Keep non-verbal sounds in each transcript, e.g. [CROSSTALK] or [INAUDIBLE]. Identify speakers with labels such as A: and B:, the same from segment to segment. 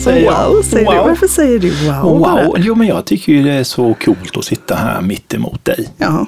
A: säger jag.
B: Wow, säger du.
A: Wow.
B: Varför säger du wow? bara?
A: Wow, jo men jag tycker ju det är så coolt att sitta här mitt emot dig.
B: Ja,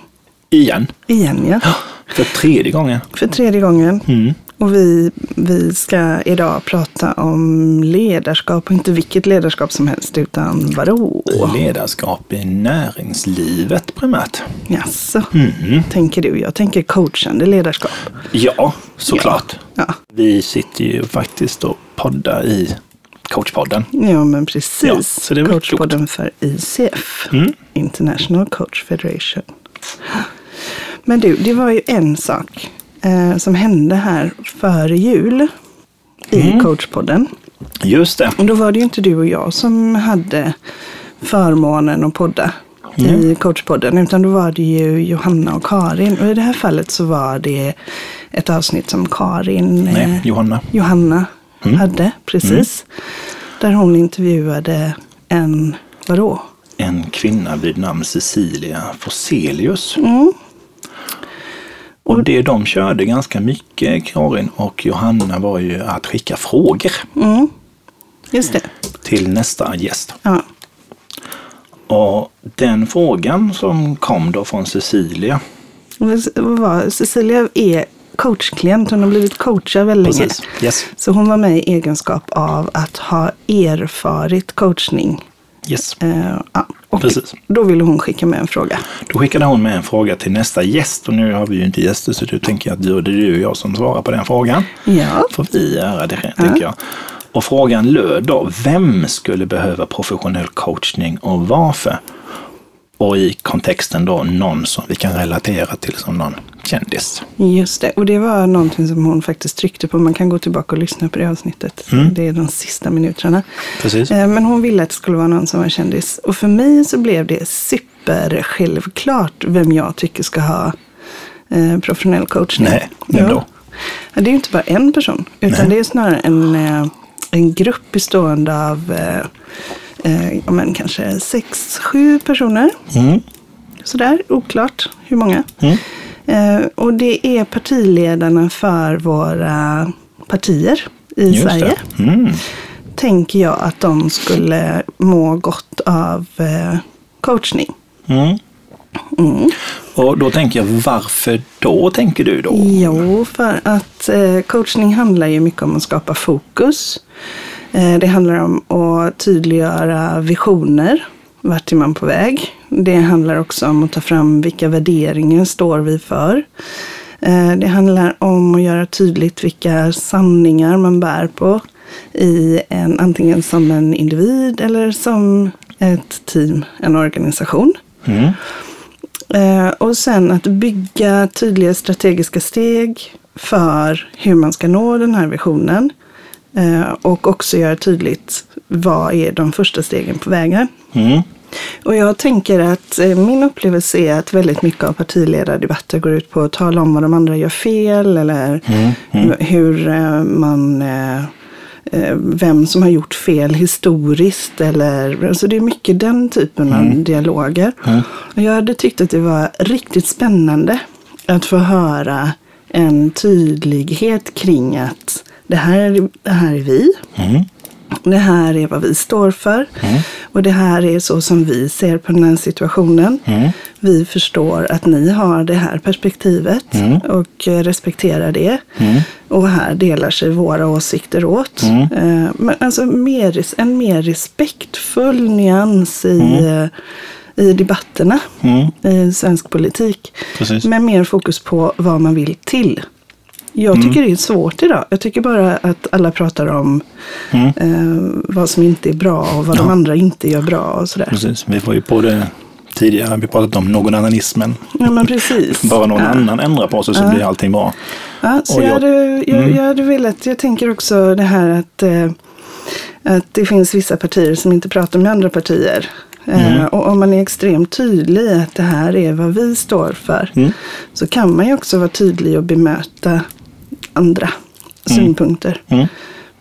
A: Igen.
B: igen ja.
A: För tredje gången.
B: För tredje gången.
A: Mm.
B: Och vi, vi ska idag prata om ledarskap och inte vilket ledarskap som helst utan vadå?
A: Mm. Ledarskap i näringslivet primärt.
B: Jaså,
A: Mm.
B: tänker du. Jag tänker coachande ledarskap.
A: Ja, såklart.
B: Ja,
A: Vi sitter ju faktiskt och poddar i Coachpodden.
B: ja men precis.
A: Ja, så det Mm. är väl
B: Coachpodden för ICF, International Coach Federation. Men du, det var ju en sak eh, som hände här före jul i
A: Mm.
B: coachpodden.
A: Just det.
B: Och då var det ju inte du och jag som hade förmånen att podda i coachpodden, utan då var det ju Johanna och Karin. Och i det här fallet så var det ett avsnitt som Karin,
A: Nej,
B: eh,
A: Johanna.
B: Johanna hade, precis. Där hon intervjuade en, vadå?
A: En kvinna vid namn Cecilia Forselius.
B: Mm.
A: Och det de körde ganska mycket, Karin och Johanna, var ju att skicka frågor
B: Just det.
A: till nästa gäst.
B: Ja.
A: Och den frågan som kom då från Cecilia,
B: Och Vad var, Cecilia är coachklient, hon har blivit coachad väldigt länge.
A: Precis. Yes.
B: Så hon var med i egenskap av att ha erfarit coachning
A: yes.
B: Eh, ja. och
A: Precis.
B: Då ville hon skicka med en fråga.
A: då skickade hon med en fråga till nästa gäst och nu har vi ju inte gäster så du tänker jag att du, det är du och jag som svarar på den frågan.
B: Ja.
A: får vi göra det, tänker jag. Och frågan löd då, vem skulle behöva professionell coachning och varför? Och i kontexten då någon som vi kan relatera till som någon kändis.
B: Just det. Och det var någonting som hon faktiskt tryckte på. Man kan gå tillbaka och lyssna på det avsnittet. Det är de sista minuterna.
A: Mm. Precis.
B: Eh, Men hon ville att det skulle vara någon som var kändis. Och för mig så blev det supersjälvklart vem jag tycker ska ha eh, professionell coachning.
A: Nej, vem
B: Jo.
A: då?
B: Ja, det är ju inte bara en person, utan
A: Nej.
B: det är snarare en, eh, en grupp bestående av eh, eh, ja, men kanske sex, sju personer.
A: Mm.
B: Sådär, oklart hur många.
A: Mm.
B: Eh, och det är partiledarna för våra partier i
A: Just
B: Sverige.
A: det. Mm.
B: Tänker jag att de skulle må gott av eh, coachning.
A: Mm.
B: Mm.
A: Och då tänker jag, varför då tänker du då?
B: Jo, för att eh, coachning handlar ju mycket om att skapa fokus. Eh, det handlar om att tydliggöra visioner. Vart är man på väg? Det handlar också om att ta fram vilka värderingar står vi för. Eh, det handlar om att göra tydligt vilka sanningar man bär på i en, antingen som en individ eller som ett team, en organisation.
A: Mm.
B: Eh, och sen att bygga tydliga strategiska steg för hur man ska nå den här visionen. Eh, och också göra tydligt vad är de första stegen på vägen.
A: Mm.
B: Och jag tänker att eh, min upplevelse är att väldigt mycket av partiledardebatter går ut på att tala om vad de andra gör fel eller hur- hur eh, man eh, eh, vem som har gjort fel historiskt eller så det är mycket den typen av dialoger. Och jag hade tyckt att det var riktigt spännande att få höra en tydlighet kring att det här, det här är vi. Det här är vad vi står för. Och det här är så som vi ser på den här situationen. Vi förstår att ni har det här perspektivet och eh, respekterar det. Och här delar sig våra åsikter åt. Eh, Men alltså mer, res- en mer respektfull nyans i, eh, i debatterna i svensk politik.
A: Precis.
B: Med mer fokus på vad man vill till. Jag
A: Mm.
B: tycker det är svårt idag. Jag tycker bara att alla pratar om
A: Mm.
B: eh, vad som inte är bra och vad de andra inte gör bra och sådär.
A: Precis, vi var ju på det tidigare, vi pratade om någon annanismen. [LAUGHS]
B: Ja, men precis.
A: Bara någon
B: ja.
A: annan ändrar på sig så blir allting bra.
B: Ja, så
A: Och
B: jag,
A: jag- Mm.
B: hade, jag, jag hade velat, jag tänker också det här att, eh, att det finns vissa partier som inte pratar med andra partier. Eh,
A: Mm.
B: och om man är extremt tydlig i att det här är vad vi står för
A: Mm.
B: så kan man ju också vara tydlig och bemöta andra
A: Mm.
B: synpunkter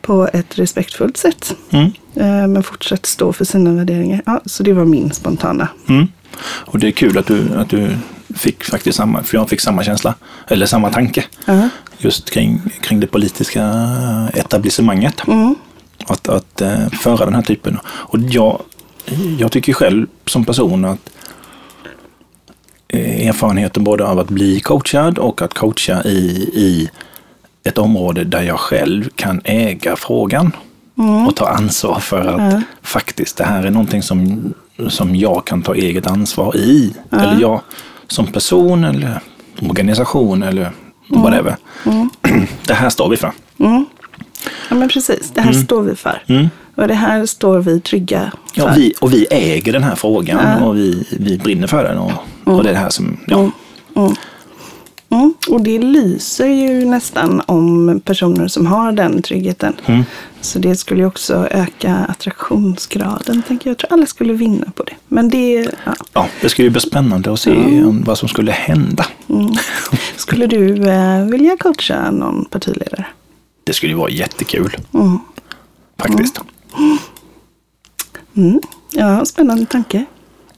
B: på ett respektfullt sätt.
A: Mm.
B: Eh, men fortsatt stå för sina värderingar. Ja, så det var min spontana.
A: Mm. Och det är kul att du, att du fick faktiskt samma, för jag fick samma känsla, eller samma tanke,
B: Ja.
A: just kring, kring det politiska etablissemanget. att, att eh, föra den här typen. Och jag, jag tycker själv som person att eh, erfarenheten både av att bli coachad och att coacha i, i ett område där jag själv kan äga frågan och ta ansvar för att
B: Ja.
A: faktiskt det här är någonting som, som jag kan ta eget ansvar i. Eller jag som person eller organisation eller whatever. [CLEARS THROAT] Det här står vi för.
B: Ja, men precis. Det här står vi för. Och det här står vi trygga för.
A: Mm. Ja, vi, och vi äger den här frågan och vi, vi brinner för den. Och, och det är det här som, ja,
B: Mm. Och det lyser ju nästan om personer som har den tryggheten.
A: Mm.
B: Så det skulle ju också öka attraktionsgraden. Tänker jag. jag tror alla skulle vinna på det. Men det, ja.
A: ja, det skulle ju bli spännande att se om, vad som skulle hända.
B: Skulle du eh, vilja coacha någon partiledare?
A: Det skulle ju vara jättekul. Faktiskt.
B: Mm. Ja, spännande tanke.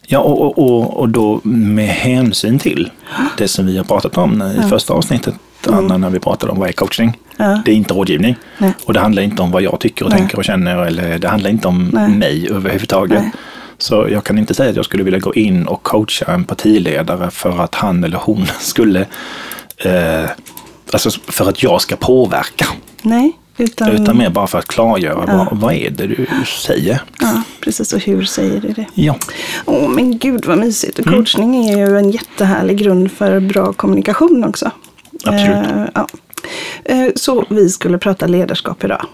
A: Ja, och, och, och, och då med hänsyn till det som vi har pratat om i första avsnittet, Anna, när vi pratade om vad är coachning?
B: Mm. Ja.
A: Det är inte rådgivning.
B: Nej.
A: Och det handlar inte om vad jag tycker och tänker och känner, eller det handlar inte om
B: Nej.
A: mig överhuvudtaget.
B: Nej.
A: Så jag kan inte säga att jag skulle vilja gå in och coacha en partiledare för att han eller hon [LAUGHS] skulle, eh, alltså för att jag ska påverka.
B: Nej, utan...
A: Utan mer bara för att klargöra vad, vad är det du säger.
B: Ja, precis. Och hur säger du det?
A: Ja,
B: Åh, men gud vad mysigt. Och coachning är ju en jättehärlig grund för bra kommunikation också.
A: Absolut.
B: Eh, ja. Eh, Så vi skulle prata ledarskap idag.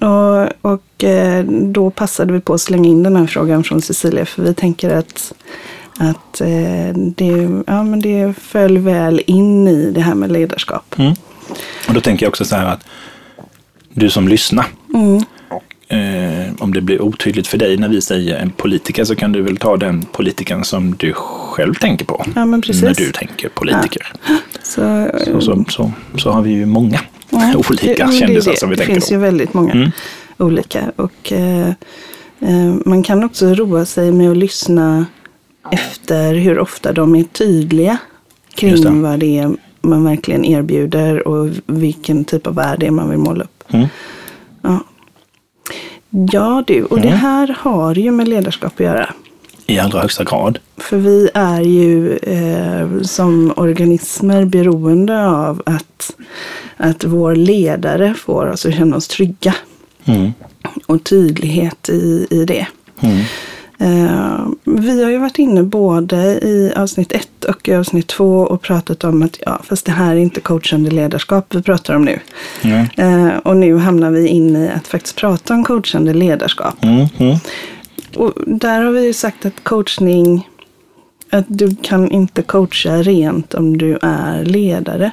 B: Och, och eh, då passade vi på att slänga in den här frågan från Cecilia för vi tänker att, att eh, det, ja, men det föll väl in i det här med ledarskap.
A: och då tänker jag också så här att du som lyssnar,
B: Mm.
A: eh, om det blir otydligt för dig när vi säger en politiker så kan du väl ta den politikern som du själv tänker på.
B: Ja, men precis.
A: När du tänker politiker.
B: Så, eh,
A: Och så, så, så har vi ju många
B: Ja, det-
A: olika
B: men det är
A: kändisar
B: det.
A: som vi
B: Det
A: tänker
B: finns
A: på.
B: ju
A: Mm.
B: väldigt många olika. Och, eh, eh, man kan också roa sig med att lyssna efter hur ofta de är tydliga kring
A: Just det.
B: vad det är man verkligen erbjuder och vilken typ av värde man vill måla upp.
A: Mm.
B: Ja. ja, du. Och
A: Mm.
B: det här har ju med ledarskap att göra.
A: I allra högsta grad.
B: För vi är ju eh, som organismer beroende av att, att vår ledare får oss att känna oss trygga
A: Mm.
B: och tydlighet i, i det.
A: Mm.
B: Eh, vi har ju varit inne både i avsnitt ett och i avsnitt två och pratat om att ja, fast det här är inte coachande ledarskap vi pratar om nu.
A: Mm.
B: Eh, och nu hamnar vi in i att faktiskt prata om coachande ledarskap.
A: Mm. Mm.
B: Och där har vi ju sagt att coachning, att du kan inte coacha rent om du är ledare.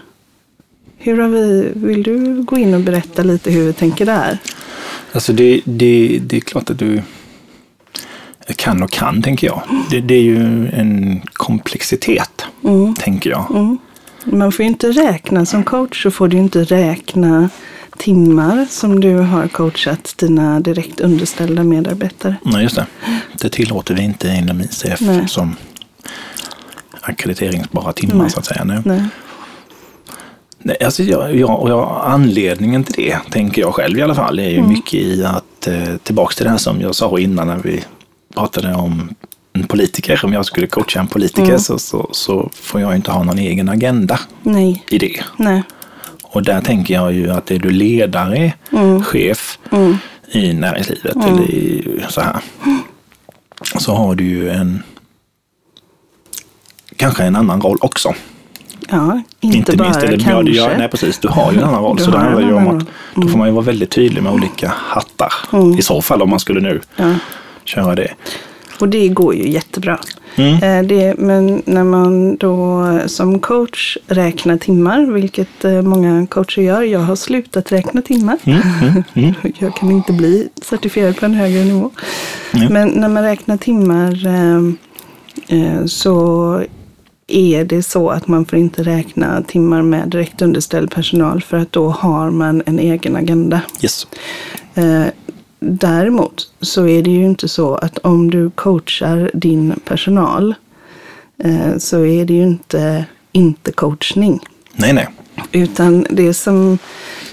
B: Hur har vi, vill du gå in och berätta lite hur vi tänker där?
A: Alltså det, det, det är klart att du kan och kan, tänker jag. Det, det är ju en komplexitet,
B: Mm.
A: tänker jag.
B: Man får ju inte räkna som coach så får du ju inte räkna timmar som du har coachat dina direkt underställda medarbetare.
A: Nej, just det. Det tillåter vi inte inom ICF
B: Nej.
A: som ackrediteringsbara timmar,
B: Nej.
A: så att säga. Nej.
B: Nej.
A: Nej, alltså jag, jag, och jag, anledningen till det, tänker jag själv i alla fall, är ju
B: Mm.
A: mycket i att, eh, tillbaks till det här som jag sa innan när vi pratade om en politiker, om jag skulle coacha en politiker
B: Mm.
A: så, så, så får jag ju inte ha någon egen agenda
B: Nej.
A: i det.
B: Nej.
A: Och där tänker jag ju att är du ledare,
B: Mm.
A: chef i näringslivet eller i, så här, så har du ju en kanske en annan roll också.
B: Ja, inte, bara
A: är det- ja,
B: kanske.
A: det- ja, nej, precis. Du har ju en annan roll.
B: Du
A: så det
B: har en
A: handlar ju om
B: annan Mm.
A: att då får man ju vara väldigt tydlig med olika hattar. I så fall om man skulle nu
B: Ja.
A: köra det.
B: Och det går ju jättebra. Eh, Det, men när man då som coach räknar timmar, vilket eh, många coacher gör. Jag har slutat räkna timmar. [LAUGHS] jag kan inte bli certifierad på en högre nivå. Men när man räknar timmar eh, eh, så är det så att man får inte räkna timmar med direkt underställd personal för att då har man en egen agenda.
A: Yes.
B: Eh, Däremot så är det ju inte så att om du coachar din personal eh, så är det ju inte inte coachning.
A: Nej, nej.
B: Utan det som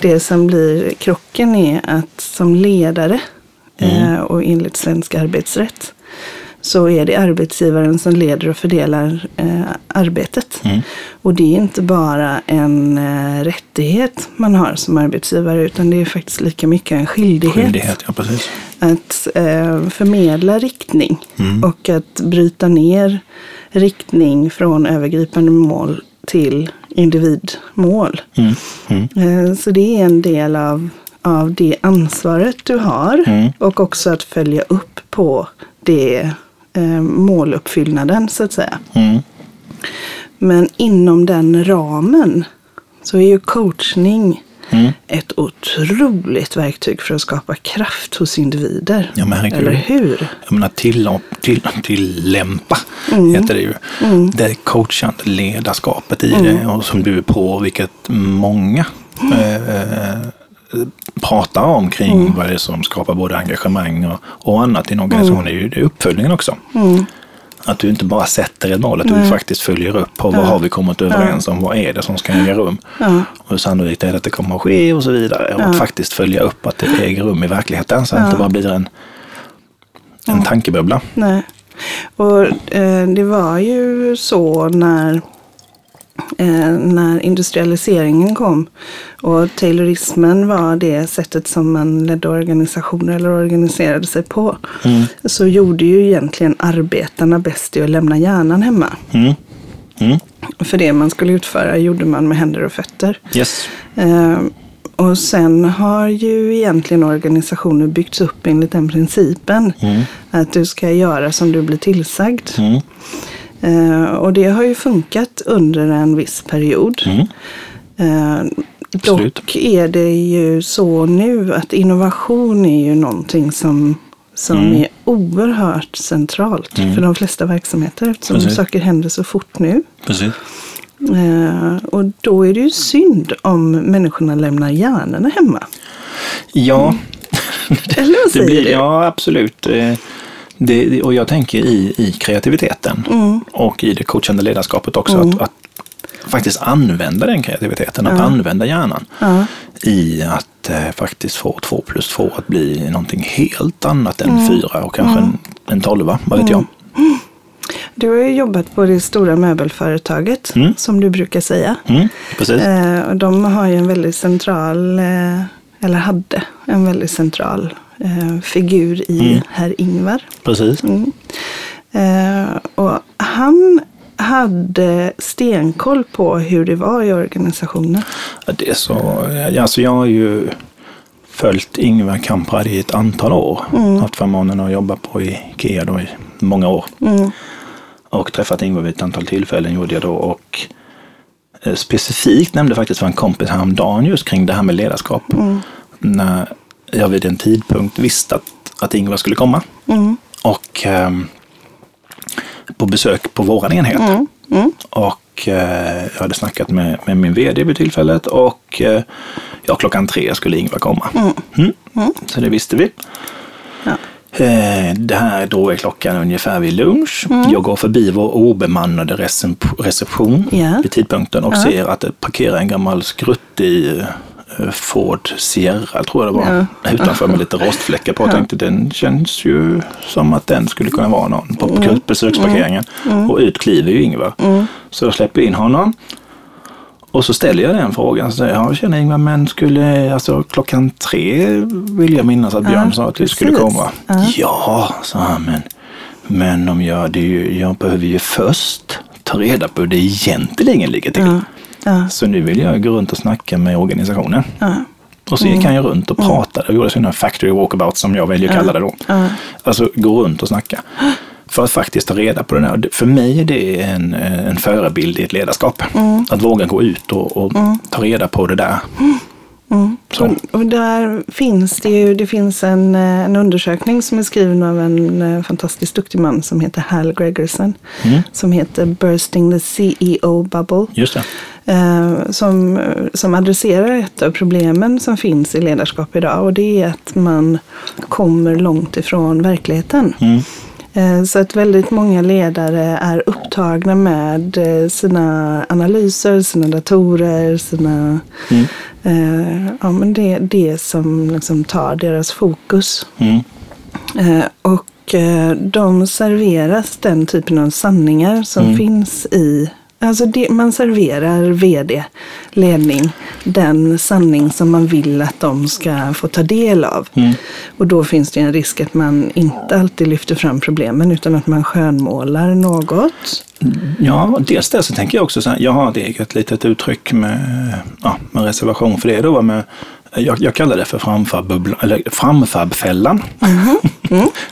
B: det som blir krocken är att som ledare eh, och enligt svensk arbetsrätt så är det arbetsgivaren som leder och fördelar eh, arbetet. Och det är inte bara en eh, rättighet man har som arbetsgivare utan det är faktiskt lika mycket en
A: Skyldighet, ja precis.
B: att eh, förmedla riktning
A: Mm.
B: och att bryta ner riktning från övergripande mål till individmål.
A: Mm. Mm.
B: Eh, så det är en del av, av det ansvaret du har
A: Mm.
B: och också att följa upp på det eh, måluppfyllnaden så att säga.
A: Mm.
B: Men inom den ramen så är ju coachning
A: Mm.
B: ett otroligt verktyg för att skapa kraft hos individer.
A: Ja, men herregud.
B: Eller hur?
A: Jag menar till, till, tillämpa heter det ju. Det coachande ledarskapet i det och som du är på, vilket många eh, eh, pratar om kring vad det är som skapar både engagemang och, och annat i en organisation. Det är ju det är uppföljningen också. Att du inte bara sätter ett mål, att du faktiskt följer upp på vad har vi kommit överens om, vad är det som ska äga rum och hur sannolikt är det att det kommer att ske och så vidare. Och att faktiskt följa upp att det äger rum i verkligheten så att det inte bara blir en, en tankebubbla.
B: Nej. Och eh, det var ju så när, eh, när industrialiseringen kom och taylorismen var det sättet som man ledde organisationer eller organiserade sig på. Så gjorde ju egentligen arbetarna bäst i att lämna hjärnan hemma.
A: Mm. Mm.
B: För det man skulle utföra gjorde man med händer och fötter.
A: Yes.
B: Eh, och sen har ju egentligen organisationer byggts upp enligt den principen. Att du ska göra som du blir tillsagd.
A: Mm.
B: Eh, och det har ju funkat under en viss period. Eh,
A: Mm. Absolut.
B: dock är det ju så nu att innovation är ju någonting som som
A: Mm.
B: är oerhört centralt för de flesta verksamheter eftersom
A: Precis.
B: saker händer så fort nu.
A: Precis.
B: Eh, och då är det ju synd om människorna lämnar hjärnorna hemma.
A: Ja,
B: Eller
A: [LAUGHS]
B: vad
A: det
B: säger
A: blir,
B: du?
A: ja absolut. Eh, Det, det- och jag tänker i, i kreativiteten
B: Mm.
A: och i det coachande ledarskapet också. Att, att faktiskt använda den kreativiteten, att använda hjärnan i att eh, faktiskt få två plus två att bli någonting helt annat
B: Mm.
A: än fyra och kanske en, en tolva, vad vet jag.
B: Du har ju jobbat på det stora möbelföretaget,
A: Mm.
B: som du brukar säga.
A: Mm, precis.
B: Eh, och de har ju en väldigt central, eh, eller hade en väldigt central eh, figur i herr Ingvar.
A: precis.
B: Eh, och han hade stenkoll på hur det var i organisationen.
A: Ja, Det är så, ja, alltså jag har ju följt Ingvar Kamprad i ett antal år. Haft förmånen att jobba på Ikea då i många år. Och träffat Ingvar vid ett antal tillfällen gjorde jag då. Och eh, specifikt nämnde faktiskt för en kompis häromdagen just kring det här med ledarskap. När jag vid en tidpunkt visste att, att Ingvar skulle komma. Och ehm, på besök på våran enhet. Och eh, jag hade snackat med, med min vd vid tillfället och eh, ja, klockan tre skulle Ingvar komma. Mm. Så det visste vi.
B: Ja.
A: Eh, det här då är klockan ungefär vid lunch. Jag går förbi vår obemannade recep- reception
B: Ja.
A: vid tidpunkten och ser att det parkerar en gammal skruttig eh, Ford Sierra, tror jag det var, utanför med lite rostfläckar på. Jag tänkte den känns ju som att den skulle kunna vara någon på besöksparkeringen. Och ut kliver ju Ingvar. Så jag släpper in honom. Och så ställer jag den frågan. Så, jag känner Ingvar, men skulle, alltså klockan tre vill jag minnas att Björn sa att du skulle
B: precis.
A: komma. Ja, sa han, men, men om jag, det är ju, jag behöver ju först ta reda på hur det egentligen ligger till.
B: Ja.
A: Så nu vill jag gå runt och snacka med organisationen. Och så gick han ju runt och pratade och gjorde sina factory walkabout som jag väljer att kalla det då. Alltså gå runt och snacka. För att faktiskt ta reda på det där. Och det- För mig är det en, eh, en förebild i ett ledarskap. Att våga gå ut och, och ta reda på det där. Så.
B: Och, och där finns det ju, det finns en, eh, en undersökning som är skriven av en eh, fantastiskt duktig man som heter Hal Gregerson. Som heter Bursting the CEO Bubble.
A: Just det.
B: Eh, som, eh, som adresserar ett av problemen som finns i ledarskap idag. Och det är att man kommer långt ifrån verkligheten. Eh, Så att väldigt många ledare är upptagna med eh, sina analyser, sina datorer, sina Eh, ja, men det är det som liksom tar deras fokus.
A: Mm.
B: Eh, och eh, de serveras den typen av sanningar som
A: Mm.
B: finns i Alltså det, man serverar vd, ledning, den sanning som man vill att de ska få ta del av.
A: Mm.
B: Och då finns det en risk att man inte alltid lyfter fram problemen utan att man skönmålar något.
A: Ja, dels det så tänker jag också så här, jag har ett eget litet uttryck med, ja, med reservation för det då, med, jag, jag kallar det för framfab, eller framfabfällan.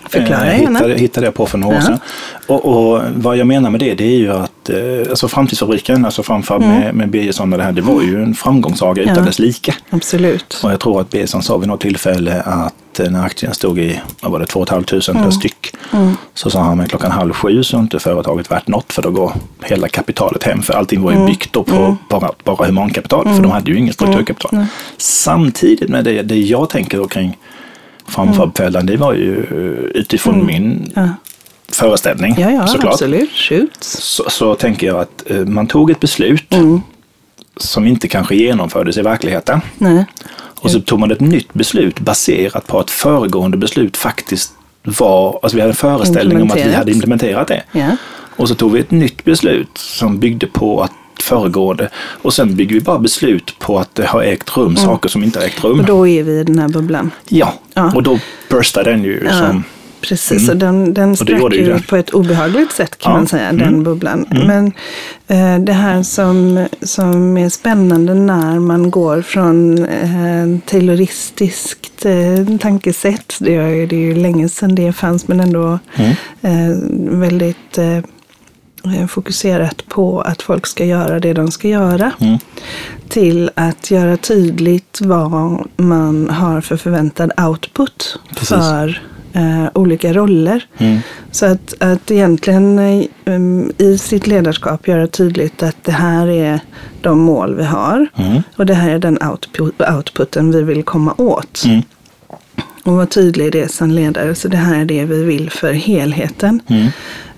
B: Förklara
A: Eh,
B: gärna.
A: hittade, hittade jag på för några år
B: Ja.
A: sedan. Och, och vad jag menar med det, det är ju att eh, alltså framtidsfabriken, alltså framfab med, med Birgersson och det här, det var ju en framgångssaga utan
B: Mm. Ja.
A: dess like.
B: Absolut.
A: Och jag tror att Birgersson sa vid något tillfälle att eh, när aktien stod i, vad var det, 2 500
B: Mm.
A: per styck, så sa han men klockan halv sju så är inte företaget värt något för då går hela kapitalet hem. För allting var ju
B: Mm.
A: byggt då på bara, bara humankapital, för de hade ju inget strukturkapital.
B: Mm.
A: Samtidigt med det, det jag tänker då kring framfabfällan, det var ju eh, utifrån min föreställning
B: Mm. Ja, ja,
A: såklart
B: absolut. Shoot.
A: så, så tänker jag att eh, man tog ett beslut
B: Mm.
A: som inte kanske genomfördes i verkligheten.
B: Nej.
A: Och så tog man ett nytt beslut baserat på att föregående beslut faktiskt var, alltså vi hade en föreställning om att vi
B: Implementerat.
A: hade implementerat det.
B: Ja.
A: Och så tog vi ett nytt beslut som byggde på att föregående och sen bygger vi bara beslut på att det har ägt rum, saker som inte har ägt rum.
B: Mm. Och då är vi i den här bubblan.
A: ja.
B: Ja.
A: och då burstar den ju som Mm.
B: Precis, och den, den
A: Och det
B: sprack
A: gjorde ju
B: ju
A: den.
B: på ett obehagligt sätt
A: Ja.
B: kan
A: Mm.
B: man säga, den bubblan. Men eh, det här som, som är spännande när man går från eh, tayloristiskt eh, tankesätt, det är, det är ju länge sedan det fanns, men ändå
A: Mm.
B: eh, väldigt eh, eh, fokuserat på att folk ska göra det de ska göra. Till att göra tydligt vad man har för förväntad output
A: Precis.
B: för eh, olika roller. Så att, att egentligen eh, um, i sitt ledarskap göra tydligt att det här är de mål vi har. Och det här är den output, outputen vi vill komma åt. Och vara tydlig i det som ledare. Så det här är det vi vill för helheten.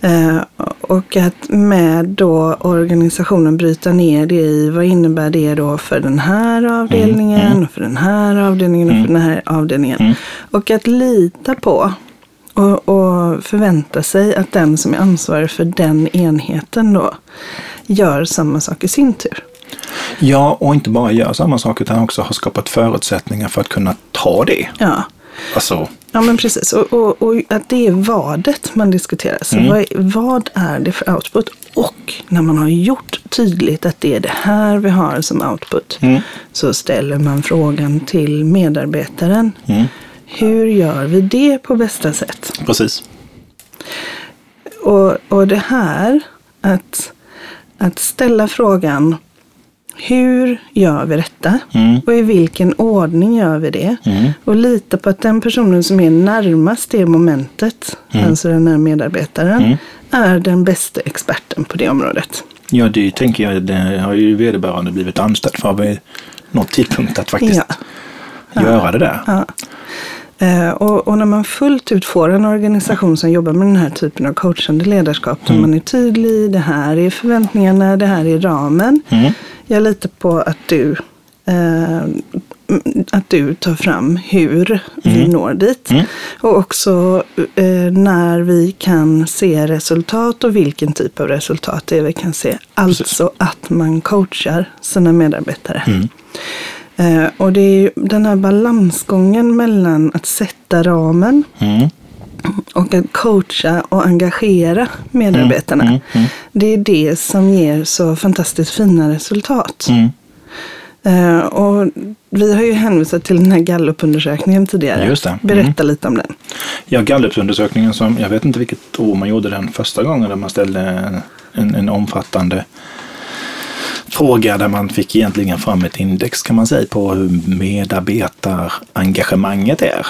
B: Eh, och att med då organisationen bryta ner det i vad innebär det då för den här avdelningen, Och för den här avdelningen och för den här avdelningen. Och att lita på och, och förvänta sig att den som är ansvarig för den enheten då gör samma sak i sin tur.
A: Ja, och inte bara gör samma sak utan också har skapat förutsättningar för att kunna ta det.
B: Ja.
A: Alltså,
B: Ja men precis, och, och, och att det är vadet man diskuterar. Så vad, är, vad är det för output? Och när man har gjort tydligt att det är det här vi har som output så ställer man frågan till medarbetaren. Hur gör vi det på bästa sätt?
A: precis.
B: Och, och det här att, att ställa frågan hur gör vi detta? Och i vilken ordning gör vi det? Och lita på att den personen som är närmast det momentet, alltså den här medarbetaren, är den bästa experten på det området.
A: Ja, det tänker jag. Det har ju vederbörande blivit anställd för vid någon tidpunkt att faktiskt
B: Ja.
A: göra det där.
B: Ja. Eh, Och, och när man fullt ut får en organisation som jobbar med den här typen av coachande ledarskap, där man är tydlig, i, det här är förväntningarna, det här är ramen. Jag litar på att du, eh, m- att du tar fram hur vi når dit. Och också eh, när vi kan se resultat och vilken typ av resultat det är vi kan se. Alltså att man coachar sina medarbetare. Eh, och det är ju den här balansgången mellan att sätta ramen och att coacha och engagera medarbetarna.
A: Mm,
B: Det är det som ger så fantastiskt fina resultat.
A: Mm.
B: Eh, och vi har ju hänvisat till den här gallupundersökningen tidigare.
A: Just det. Mm.
B: Berätta lite om den.
A: Ja, Gallupundersökningen som, jag vet inte vilket år man gjorde den första gången, där man ställde en, en omfattande fråga där man fick egentligen fram ett index kan man säga på hur medarbetarengagemanget är.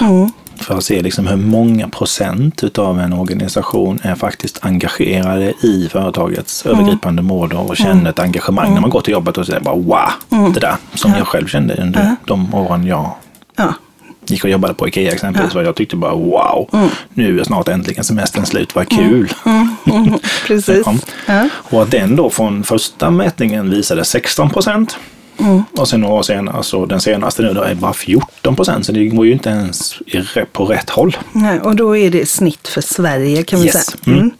A: För att se liksom hur många procent utav en organisation är faktiskt engagerade i företagets övergripande mål då och känner ett engagemang när man går till jobbet och säger bara wow, det där som jag själv kände under de åren jag
B: Ja,
A: gick och jobbade på Ikea exempelvis och jag tyckte bara wow,
B: Mm.
A: nu är snart äntligen semestern slut, vad kul.
B: precis.
A: Ja.
B: Ja.
A: Och att den då från första mätningen visade 16 procent
B: Mm.
A: Och sen några år senare, så den senaste nu, då är bara 14 procent. Så det går ju inte ens i, re- på rätt håll.
B: Nej, och då är det snitt för Sverige kan vi
A: Yes.
B: säga. Mm.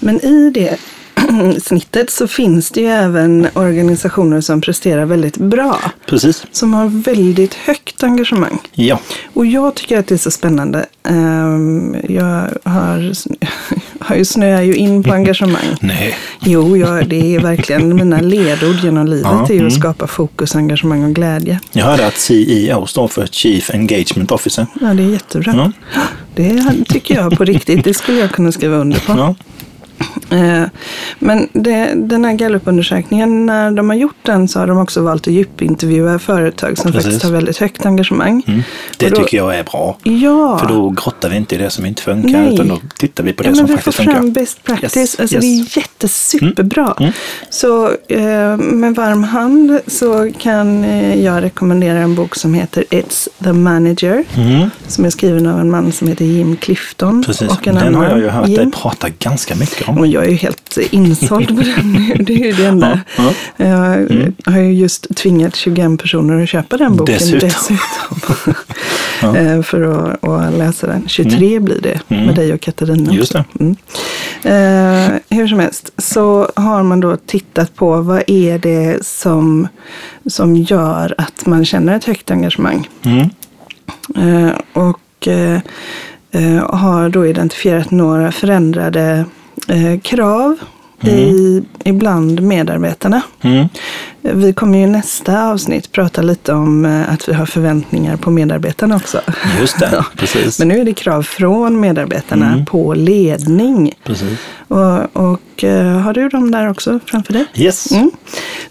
B: Men i det [CLEARS THROAT] snittet så finns det ju även organisationer som presterar väldigt bra.
A: Precis.
B: Som har väldigt högt engagemang.
A: Ja.
B: Och jag tycker att det är så spännande. Ehm, Jag har, [LAUGHS] har ju snöar ju in
A: [LAUGHS]
B: på engagemang.
A: Nej.
B: Jo, jag, det är verkligen mina ledord genom livet.
A: Ja, mm.
B: är ju att skapa fokus, engagemang och glädje.
A: Jag hörde att CEO står för Chief Engagement Officer.
B: Ja, det är jättebra.
A: Ja.
B: Det tycker jag på riktigt. Det skulle jag kunna skriva under på.
A: Ja.
B: Eh, Men det, den här gallupundersökningen, när de har gjort den så har de också valt att djupintervjua företag som
A: Precis. Mm.
B: faktiskt har väldigt högt engagemang.
A: Det
B: Och då-
A: tycker jag är bra.
B: Ja.
A: För då grottar vi inte i det som inte funkar,
B: Nej.
A: utan då tittar vi på det
B: ja,
A: som
B: men vi får
A: faktiskt funkar.
B: fram best practice.
A: Yes,
B: Alltså,
A: yes. Mm,
B: Det är jättesuperbra. Så eh, med varm hand så kan eh, jag rekommendera en bok som heter It's the Manager. Som är skriven av en man som heter Jim Clifton.
A: Mm. Precis.
B: Och en
A: Den
B: annan
A: har jag ju hört dig
B: Jim.
A: prata ganska mycket om.
B: Och jag är ju helt insåld på
A: [LAUGHS]
B: den nu. Det är ju det enda.
A: Ja, Mm.
B: Jag har ju just tvingat 21 personer att köpa den boken
A: Dessutom.
B: dessutom.
A: [LAUGHS]
B: Eh, För att, att läsa den. 23 blir det med dig och Katarina.
A: Mm. Just det.
B: Mm. Eh, hur som helst så har man då tittat på vad är det som, som gör att man känner ett högt engagemang.
A: Mm.
B: Eh, och eh, eh, har då identifierat några förändrade eh, krav i, ibland medarbetarna.
A: Mm.
B: Eh, Vi kommer ju i nästa avsnitt prata lite om eh, att vi har förväntningar på medarbetarna också.
A: Just det, [LAUGHS] precis.
B: Men nu är det krav från medarbetarna på ledning.
A: precis.
B: Och, och eh, har du dem där också framför dig?
A: Yes.
B: Mm.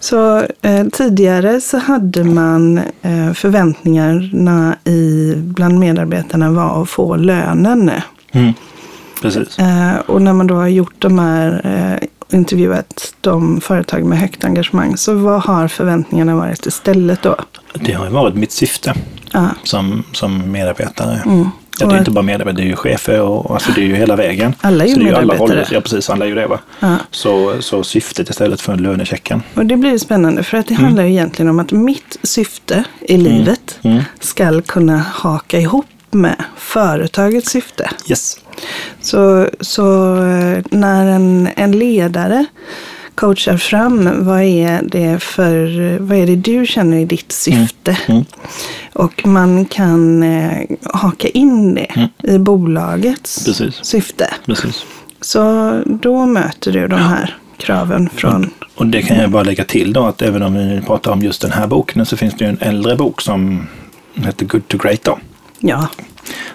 B: Så eh, tidigare så hade man eh, förväntningarna i, bland medarbetarna var att få lönen.
A: Mm. Precis.
B: Eh, och när man då har gjort de här eh, intervjuat de företag med högt engagemang så vad har förväntningarna varit istället då?
A: Det har ju varit mitt syfte
B: Ja. Mm.
A: som, som medarbetare. Ja, det är inte bara medarbetare, det är ju chefer och och alltså det är ju hela vägen.
B: Alla är ju
A: Så det alla
B: medarbetare.
A: håller, ja, precis. Alla är ju det. Va?
B: Ja.
A: Så, så syftet istället för lönechecken.
B: Och det blir ju spännande för att det handlar ju egentligen om att mitt syfte i livet ska kunna haka ihop med företagets syfte.
A: Yes.
B: Så, så eh, när en, en ledare coachar fram vad är, det för, vad är det du känner i ditt
A: Mm.
B: syfte? Och man kan eh, haka in det i bolagets
A: Mm. Precis.
B: syfte.
A: Precis.
B: Så då möter du de här kraven från
A: Och det kan jag bara lägga till då att även om vi nu pratar om just den här boken så finns det ju en äldre bok som heter Good to Great då.
B: Ja,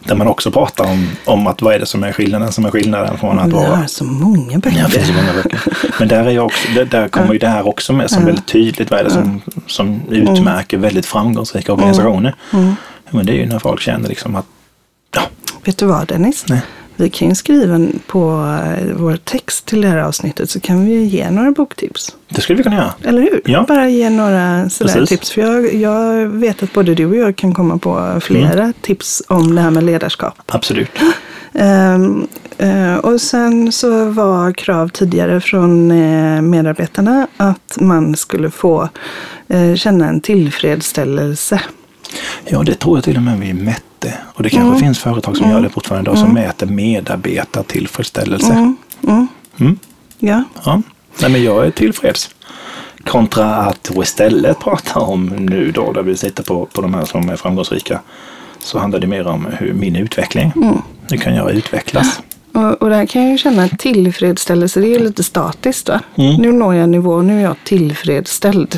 A: Där man också pratar om, om att vad är det som är skillnaden som är skillnaden från att
B: vi
A: vara
B: har så många
A: Ja, det finns ju
B: böcker.
A: många böcker. [LAUGHS] Men där, är jag också, där, där kommer ju det här också med som väldigt tydligt. Vad är det som, som utmärker väldigt framgångsrika organisationer? Men det är ju när folk känner liksom att ja,
B: Vet du vad Dennis?
A: Nej.
B: Vi kan ju skriva en- på eh, vår text till det här avsnittet så kan vi ju ge några boktips.
A: det skulle vi kunna göra.
B: Eller hur?
A: Ja.
B: Bara ge några sådär
A: Precis.
B: tips. För jag, jag vet att både du och jag kan komma på flera
A: Mm.
B: tips om det här med ledarskap.
A: Absolut.
B: Ehm, eh, och sen så var krav tidigare från eh, medarbetarna att man skulle få eh, känna en tillfredsställelse.
A: Ja, det tror jag till och med vi mätte. Och det kanske finns företag som gör det fortfarande idag som mäter medarbetartillfredsställelse.
B: Ja,
A: Ja. Nej, men jag är tillfreds. Kontra att då istället prata om nu då, där vi sitter på, på de här som är framgångsrika, så handlar det mer om hur min utveckling.
B: Mm.
A: Hur kan jag utvecklas?
B: och, och där kan jag ju känna att tillfredsställelse. Det är ju lite statiskt va?
A: Mm.
B: Nu når jag en nivå, nu är jag tillfredsställd.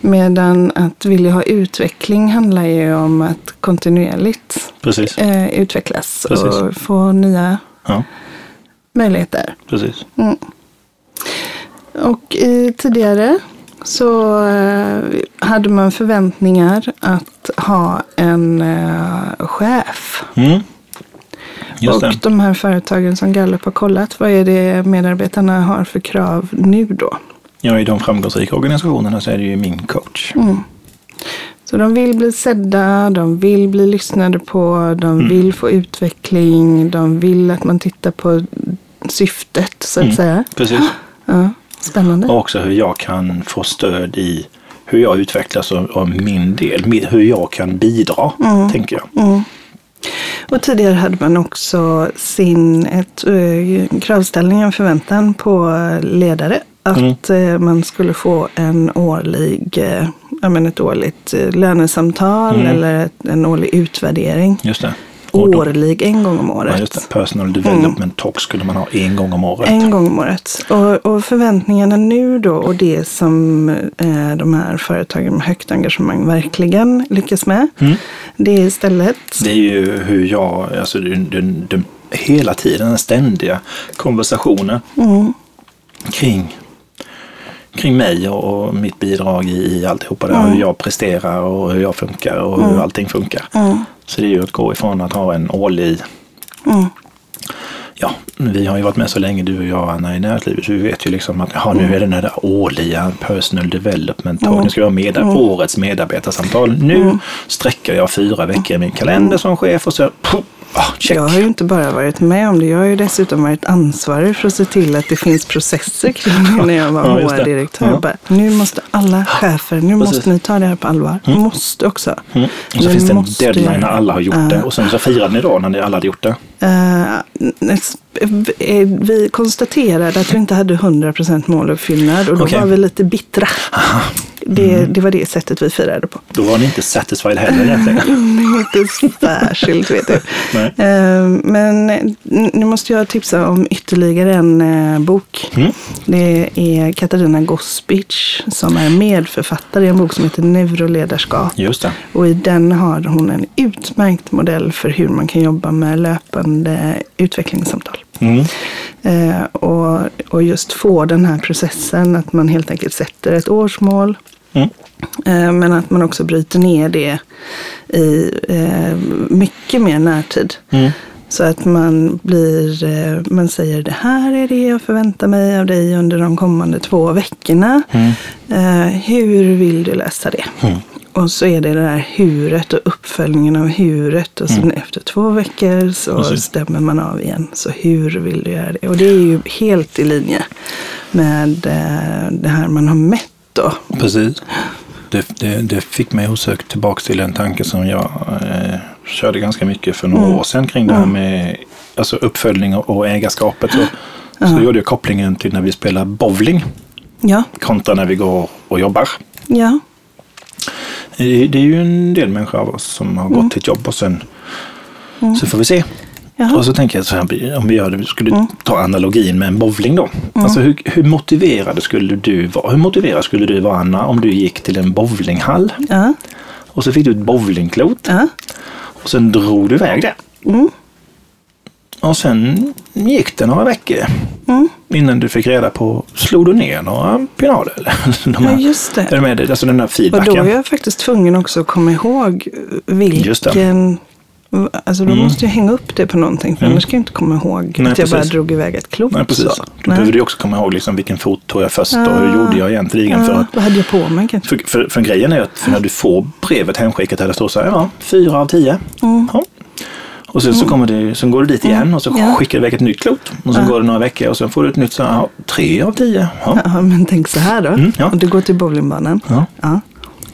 B: Medan att vilja ha utveckling handlar ju om att kontinuerligt
A: Precis.
B: eh, utvecklas
A: Precis.
B: och få nya
A: Ja,
B: möjligheter.
A: precis.
B: Och eh, tidigare så eh, hade man förväntningar att ha en eh, chef.
A: Mm. Just
B: och
A: det.
B: de här företagen som Gallup har kollat, vad är det medarbetarna har för krav nu då?
A: Ja, i de framgångsrika organisationerna så är det ju min coach.
B: Mm. Så de vill bli sedda, de vill bli lyssnade på, de
A: Mm.
B: vill få utveckling, de vill att man tittar på
A: Mm.
B: syftet så att säga.
A: Precis.
B: Ah. Ja, spännande.
A: Och också hur jag kan få stöd i hur jag utvecklas och, och min del, min, hur jag kan bidra,
B: Mm.
A: tänker jag.
B: Och tidigare hade man också sin ett, eh, kravställning, en förväntan på ledare
A: Mm.
B: att eh, man skulle få en årlig, eh, ja, men ett årligt eh, lönesamtal eller ett, en årlig utvärdering.
A: Just det. Och Mm. då-
B: Årlig, en gång om
A: Ja,
B: året.
A: just det. Personal development talk skulle man ha en gång om året.
B: En gång om året. Och, och förväntningarna nu då och det som eh, de här företagen med högt engagemang verkligen lyckas med.
A: Mm.
B: Det är istället
A: Det är ju hur jag, alltså den, den, den, hela tiden den ständiga konversationen kring, kring mig och, och mitt bidrag i, i alltihopa det, här,
B: Mm.
A: hur jag presterar och hur jag funkar och hur allting funkar.
B: Mm.
A: Så det är ju att gå ifrån att ha en årlig
B: Mm.
A: Ja, vi har ju varit med så länge du och jag Anna i näringslivet så vi vet ju liksom att jaha,
B: Mm.
A: nu är det den där årliga personal development talk. Nu ska jag ha med,
B: Mm.
A: årets medarbetarsamtal. Nu sträcker jag fyra veckor i min kalender som chef och så pff, ah, check.
B: Jag har ju inte bara varit med om det, jag har ju dessutom varit ansvarig för att se till att det finns processer kring det när jag
A: [LAUGHS]
B: var
A: Ja, just det.
B: HR-direktör.
A: Ja. Ah,
B: Jag bara, Nu måste alla chefer, nu
A: precis.
B: måste ni ta det här på allvar. Måste också.
A: Mm. Och så
B: Ni
A: finns det en
B: måste
A: deadline
B: göra
A: när alla har gjort det och sen så firade ni då när ni alla hade gjort det.
B: Eh, s- eh, vi konstaterade att vi inte hade 100% måluppfyllnad och då
A: Okej. Mm.
B: var vi lite bittra. Det, det var det sättet vi firade på.
A: Då var ni inte satisfied heller egentligen.
B: Inte särskilt vet du.
A: Nej.
B: Eh, Men n- nu måste jag tipsa om ytterligare en eh, bok. Det är Katarina Gospic som är medförfattare i en bok som heter Neuroledarskap.
A: Just det.
B: Och i den har hon en utmärkt modell för hur man kan jobba med löpande utvecklingssamtal.
A: Mm.
B: Eh, och, och just få den här processen att man helt enkelt sätter ett årsmål.
A: Mm.
B: Eh, Men att man också bryter ner det i eh, mycket mer närtid.
A: Mm.
B: Så att man blir, eh, man säger det här är det jag förväntar mig av dig under de kommande två veckorna. Eh, hur vill du läsa det? Och så är det det där huret och uppföljningen av huret. Och sen efter två veckor så
A: Precis.
B: stämmer man av igen. Så hur vill du göra det? Och det är ju helt i linje med eh, det här man har mätt då.
A: Precis. Det, det, det fick mig osökt tillbaka till en tanke som jag eh, körde ganska mycket för några år sedan kring det här med alltså uppföljning och, och ägarskapet. Så, så gjorde jag kopplingen till när vi spelar bowling
B: Ja,
A: kontra när vi går och jobbar.
B: ja,
A: Eh, Det, det är ju en del människor av oss som har
B: Mm.
A: gått till ett jobb och sen så får vi se.
B: Jaha. Mm.
A: Och så tänker jag så här, om vi gör det, vi skulle ta analogin med en bowling då. Alltså hur, hur motiverad skulle du vara? Hur motiverad skulle du vara Anna om du gick till en bowlinghall?
B: ja,
A: Och så fick du ett bowlingklot
B: ja.
A: och sen drog du iväg det.
B: Mm.
A: Och sen gick det några veckor
B: Mm.
A: innan du fick reda på, slog du ner några pinaler? eller? [LAUGHS] De
B: Ja, just det.
A: Är du med dig? Alltså den där
B: Och då
A: feedbacken.
B: är jag faktiskt tvungen också att komma ihåg
A: Just Mm.
B: vilken... Alltså då måste jag hänga upp det på någonting. För annars kan jag inte komma ihåg
A: Nej,
B: att jag bara
A: precis.
B: drog iväg ett klot.
A: Nej, precis.
B: så.
A: Då
B: Nej.
A: behöver du också komma ihåg liksom, vilken fot tog jag först och hur
B: Ah.
A: gjorde jag egentligen? För,
B: Ja,
A: att-
B: vad hade jag på mig kanske?
A: för, för, för grejen är ju att för när du får brevet hemskickat där det står så här, ja, fyra av tio.
B: Mm.
A: Ja. Och sen, så kommer det, sen går du dit igen och så
B: Ja. Ah.
A: skickar du iväg ett nytt klot. Och sen går det några veckor och sen får du ett nytt så här, ja, tre av tio. Ja.
B: Ja, men tänk så här då.
A: Mm, ja.
B: Om du går till bowlingbanan.
A: Ja. Mm.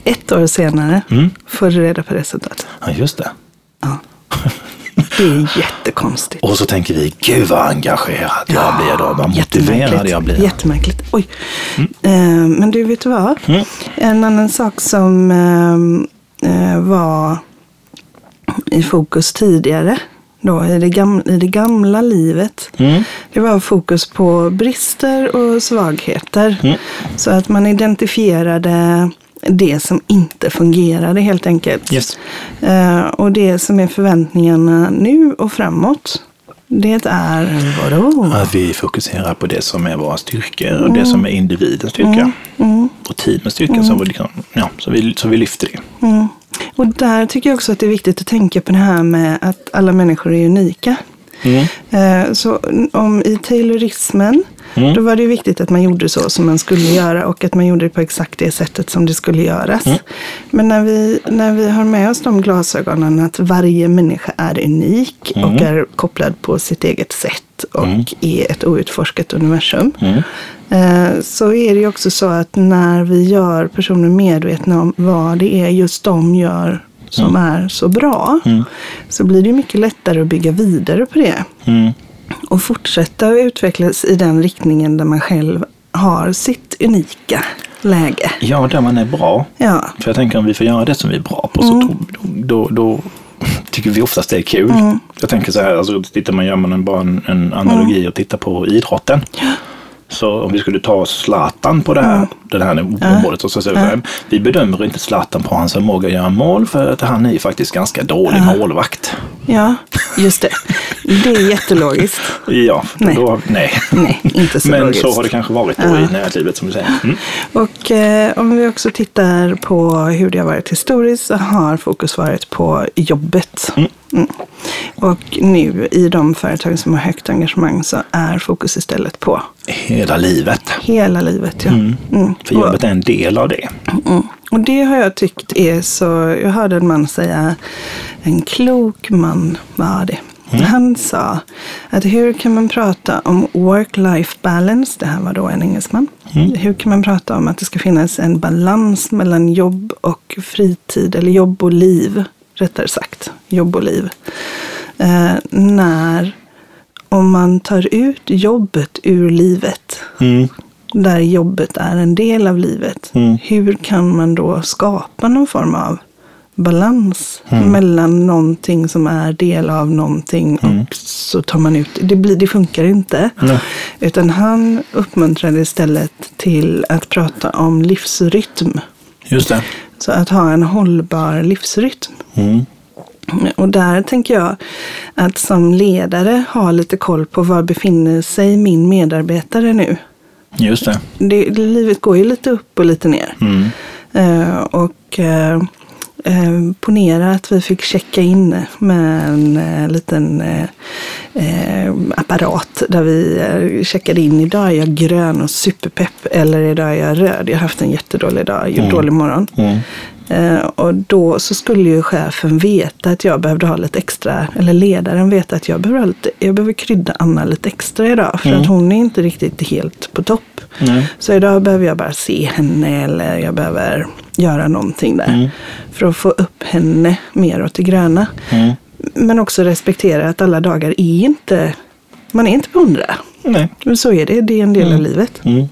B: Ett år senare får du reda på resultatet.
A: ja, just det.
B: Det är jättekonstigt.
A: Och så tänker vi, gud vad engagerad jag blir då, vad motiverad
B: Ah, Jättemärkligt.
A: jag blir. Mm.
B: Jättemärkligt. Oj. Eh, men du, vet du vad? En annan sak som eh, eh, var i fokus tidigare, då, i, det gamla, i det gamla livet,
A: Mm.
B: det var fokus på brister och svagheter.
A: Mm.
B: Så att man identifierade det som inte fungerade helt enkelt.
A: Yes.
B: Eh, och det som är förväntningarna nu och framåt, det är vadå?
A: Att vi fokuserar på det som är våra styrkor och det som är individens styrka. Och teamens styrka. Så, vi liksom, ja, så, vi, så vi lyfter det.
B: Mm. Och där tycker jag också att det är viktigt att tänka på det här med att alla människor är unika. Eh, Så om i taylorismen, då var det ju viktigt att man gjorde så som man skulle göra och att man gjorde det på exakt det sättet som det skulle göras. Men när vi, när vi har med oss de glasögonen att varje människa är unik och är kopplad på sitt eget sätt och är ett outforskat universum. eh, så är det ju också så att när vi gör personer medvetna om vad det är just de gör som är så bra, så blir det ju mycket lättare att bygga vidare på det.
A: Mm.
B: Och fortsätta att utvecklas i den riktningen där man själv har sitt unika läge.
A: Ja, där man är bra.
B: Ja,
A: För jag tänker om vi får göra det som vi är bra på så tror- då, då, då tycker vi oftast det är kul. Jag tänker så här, alltså, tittar man, gör man en, bara en, en analogi och tittar på idrotten. Så om vi skulle ta Zlatan på det här, det här niv- området och så säger vi, vi bedömer inte Zlatan på hans förmåga att göra mål för att han är ju faktiskt ganska dålig målvakt.
B: ja just det. Det är jättelogiskt.
A: Ja, nej.
B: Nej.
A: Då, nej.
B: Nej, inte så
A: Men
B: logiskt.
A: så har det kanske varit då i näringslivet som du säger. Mm.
B: Och eh, om vi också tittar på hur det har varit historiskt så har fokus varit på jobbet. Mm. Och nu i de företag som har högt engagemang så är fokus istället på
A: Hela livet.
B: hela livet. Ja. Mm.
A: För jobbet är en del av det.
B: Mm. Och det har jag tyckt är så, jag hörde en man säga, en klok man var det. Han sa att hur kan man prata om work-life balance, det här var då en engelsman. Hur kan man prata om att det ska finnas en balans mellan jobb och fritid, eller jobb och liv, rättare sagt, jobb och liv. Eh, när, om man tar ut jobbet ur livet,
A: Mm.
B: där jobbet är en del av livet. Hur kan man då skapa någon form av balans mellan någonting som är del av någonting och så tar man ut det. Blir, det funkar inte. Utan han uppmuntrade istället till att prata om livsrytm.
A: Just det.
B: Så att ha en hållbar livsrytm.
A: Mm.
B: Och där tänker jag att som ledare ha lite koll på var befinner sig min medarbetare nu
A: Just det. Mm.
B: det, livet går ju lite upp och lite ner. Eh, och eh, eh, ponera att vi fick checka in med en eh, liten eh, eh, apparat där vi eh, checkade in. Idag är jag grön och superpepp eller idag är jag röd. Jag har haft en jättedålig dag, gjort dålig morgon.
A: Mm.
B: Eh, och då så skulle ju chefen veta att jag behövde ha lite extra, eller ledaren veta att jag behöver, ha lite, jag behöver krydda Anna lite extra idag. För att hon är inte riktigt helt på topp. Så idag behöver jag bara se henne eller jag behöver göra någonting där.
A: Mm.
B: För att få upp henne mer åt det gröna.
A: Mm.
B: Men också respektera att alla dagar är inte, man är inte på hundra.
A: Nej.
B: Men så är det, det är en del av livet.
A: Mm.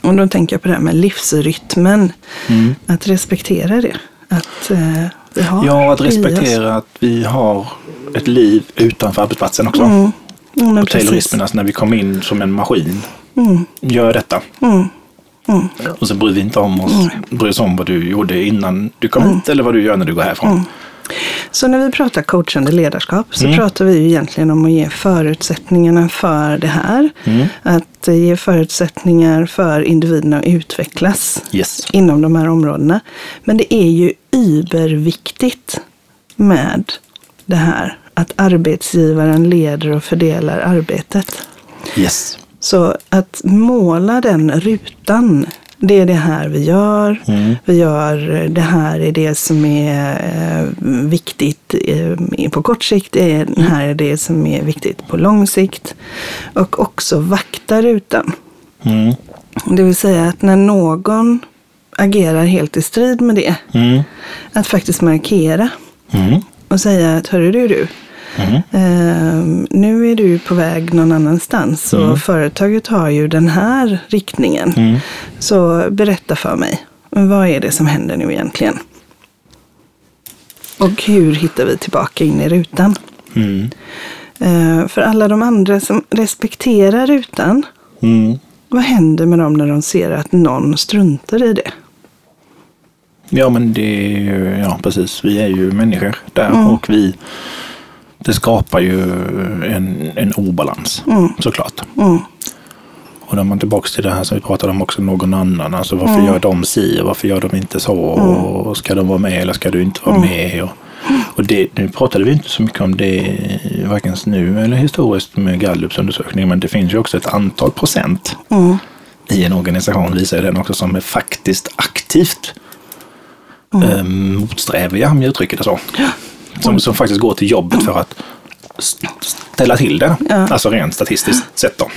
B: Och då tänker jag på det här med livsrytmen.
A: Mm.
B: Att respektera det. Att eh, vi har
A: Ja, att
B: i oss.
A: respektera att vi har ett liv utanför arbetsplatsen också.
B: Mm. Ja, men
A: Och
B: precis. Mm.
A: Taylorismen, alltså när vi kom in som en maskin. Gör detta. Och så bryr vi inte om oss,
B: Mm.
A: bryr oss om vad du gjorde innan du kom hit eller vad du gör när du går härifrån.
B: Mm. Så när vi pratar coachande ledarskap så pratar vi ju egentligen om att ge förutsättningarna för det här. Att eh, ge förutsättningar för individerna att utvecklas
A: Yes.
B: inom de här områdena. Men det är ju überviktigt med det här att arbetsgivaren leder och fördelar arbetet.
A: Yes.
B: Så att måla den rutan, det är det här vi gör. Vi gör eh, det här är det som är eh, viktigt eh, på kort sikt. eh, Det här är det som är viktigt på lång sikt. Och också vakta rutan.
A: Mm.
B: Det vill säga att när någon agerar helt i strid med det,
A: Mm.
B: att faktiskt markera
A: Mm.
B: och säga att hörru du du, ehm, nu är du på väg någon annanstans och företaget har ju den här riktningen.
A: Mm.
B: Så berätta för mig, vad är det som händer nu egentligen? Och hur hittar vi tillbaka in i rutan?
A: Mm.
B: Ehm, för alla de andra som respekterar rutan,
A: Mm.
B: vad händer med dem när de ser att någon struntar i det?
A: Ja, men det är ju, ja precis. Vi är ju människor där och vi, det skapar ju en, en obalans såklart. Och då är man tillbaka till det här som vi pratade om också, någon annan. Alltså varför gör de si och varför gör de inte så? Och ska de vara med eller ska du inte vara med? Och, och det, nu pratade vi inte så mycket om det, varken nu eller historiskt med Gallups undersökning, men det finns ju också ett antal procent i en organisation visar ju den också som är faktiskt aktivt eh, motsträviga, om jag uttrycker det så. Som, som faktiskt går till jobbet för att st- ställa till det, alltså rent statistiskt sett då.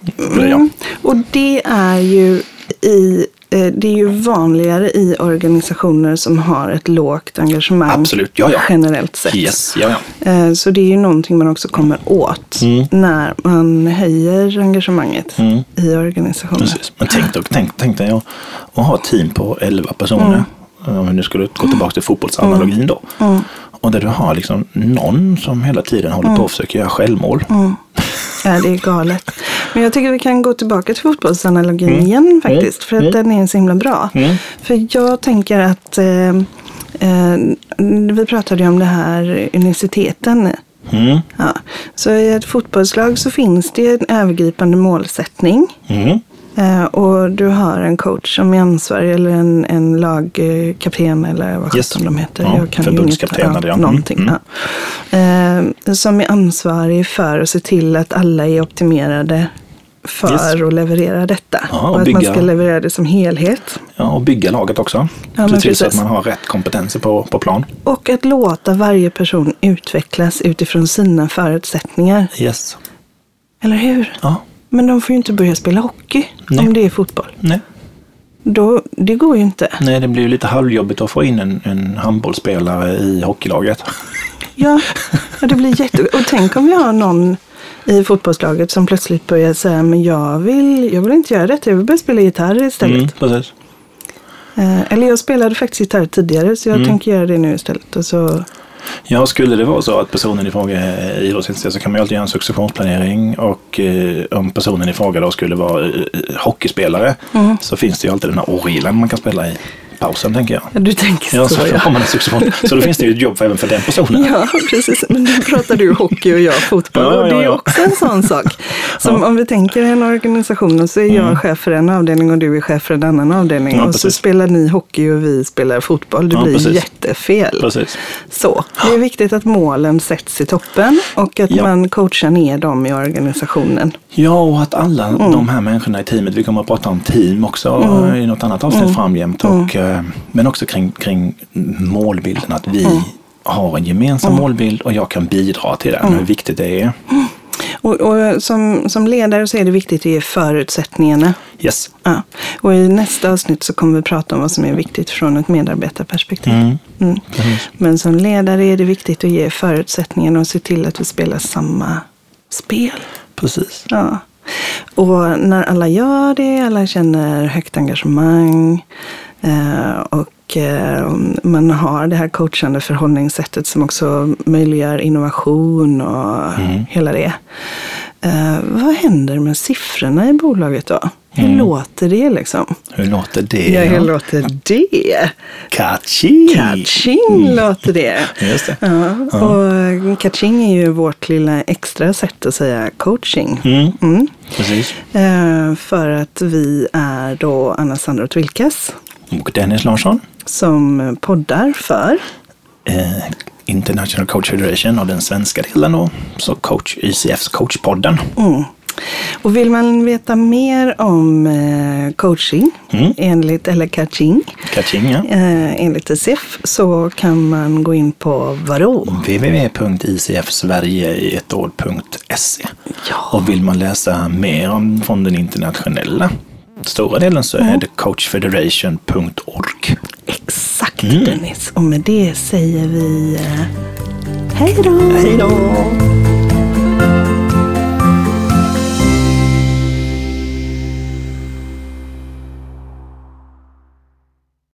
A: Det är
B: Mm.
A: jag.
B: Och det är ju i eh, det är ju vanligare i organisationer som har ett lågt engagemang
A: Absolut, ja, ja.
B: generellt sett.
A: Yes, ja, ja.
B: Eh, Så det är ju någonting man också kommer åt
A: Mm.
B: när man höjer engagemanget i organisationen.
A: Precis. Men tänk, då, tänk, tänk dig att att ha ett team på 11 personer. Om vi nu skulle gå tillbaka till fotbollsanalogin då. Och där du har liksom någon som hela tiden håller på och försöker göra självmål.
B: Ja, det är galet. Men jag tycker vi kan gå tillbaka till fotbollsanalogin
A: Mm.
B: igen faktiskt. För att den är så himla bra. För jag tänker att eh, eh, vi pratade ju om det här uniciteten.
A: Mm.
B: Ja. Så i ett fotbollslag så finns det en övergripande målsättning.
A: Mm.
B: Eh, och du har en coach som är ansvarig eller en, en lagkapten eller vad
A: Yes.
B: sjutton de heter.
A: Ja,
B: jag kan ju
A: förbundskapten
B: inget-
A: hade jag.
B: ja,
A: Mm,
B: någonting.
A: mm.
B: Ja. Eh, som är ansvarig för att se till att alla är optimerade för
A: Yes.
B: att leverera detta.
A: Ja, och
B: och att man
A: bygga-
B: ska leverera det som helhet.
A: Ja, och bygga laget också.
B: Ja,
A: Se
B: men
A: till så att
B: precis.
A: man har rätt kompetenser på, på plan.
B: Och att låta varje person utvecklas utifrån sina förutsättningar.
A: Yes.
B: Eller hur?
A: Ja,
B: Men de får ju inte börja spela hockey
A: Nej.
B: om det är fotboll.
A: nej.
B: Då, det går ju inte.
A: nej, det blir ju lite halvjobbigt att få in en, en handbollsspelare i hockeylaget.
B: Ja, ja, det blir jätte... Och tänk om vi har någon i fotbollslaget som plötsligt börjar säga men jag vill, jag vill inte göra detta, jag vill börja spela gitarr istället.
A: Mm, precis. Mm.
B: Eh, eller jag spelade faktiskt gitarr tidigare så jag tänker göra det nu istället. Och så,
A: Ja, skulle det vara så att personen i fråga är idrottsintresserad så kan man ju alltid göra en successionsplanering och eh, om personen i fråga då skulle vara eh, eh, hockeyspelare
B: Mm.
A: så finns det ju alltid den här orgelen man kan spela i pausen, tänker jag.
B: ja, du tänker
A: Ja,
B: så.
A: så har man en succession. Så då finns det ju ett jobb för även för den personen.
B: Ja, precis. Men nu pratar du hockey och jag fotboll.
A: Ja,
B: och det
A: ja,
B: är
A: ja.
B: också en sån sak.
A: [LAUGHS]
B: Som om vi tänker en organisation och så är jag chef för en avdelning och du är chef för en annan avdelning.
A: Mm. Ja,
B: och så
A: precis.
B: spelar ni hockey och vi spelar fotboll. Det
A: Ja,
B: blir
A: precis.
B: jättefel.
A: Precis.
B: Så, det är viktigt att målen sätts i toppen och att
A: Ja.
B: man coachar ner dem i organisationen.
A: Ja, och att alla
B: Mm.
A: de här människorna i teamet, vi kommer att prata om team också eh, i något annat avsnitt
B: Mm.
A: framgent, och, eh, men också kring, kring målbilden, att vi
B: Mm.
A: har en gemensam målbild och jag kan bidra till den,
B: Mm.
A: hur viktigt det är.
B: Och, och som, som ledare så är det viktigt att ge förutsättningarna.
A: Yes.
B: Ja. Och i nästa avsnitt så kommer vi prata om vad som är viktigt från ett medarbetarperspektiv. Mm. Men som ledare är det viktigt att ge förutsättningarna och se till att vi spelar samma spel.
A: Precis.
B: Ja. Och när alla gör det, alla känner högt engagemang eh, och eh, man har det här coachande förhållningssättet som också möjliggör innovation och hela det. Eh, vad händer med siffrorna i bolaget då? Hur låter det liksom?
A: Hur låter det?
B: Mm. Ja, hur låter det?
A: Catchy!
B: Catching låter det.
A: Just det.
B: Ja, och catching är ju vårt lilla extra sätt att säga coaching.
A: Mm.
B: Mm.
A: Precis.
B: Eh, För att vi är då Anna Sandroth Wilkes
A: Och Dennis Larsson,
B: som poddar för.
A: eh, International Coach Federation och den svenska delen då, så coach, ICFs coachpodden.
B: Mm. Och vill man veta mer om eh, coaching
A: Mm.
B: enligt, eller catching
A: Catching, ja.
B: eh, enligt ICF så kan man gå in på Varå.
A: www.icfsverigeietord.se
B: Ja.
A: Och vill man läsa mer om från den internationella stora delen så är det coachfederation.org.
B: Exakt Dennis. Och med det säger vi eh, hej då. Hej då.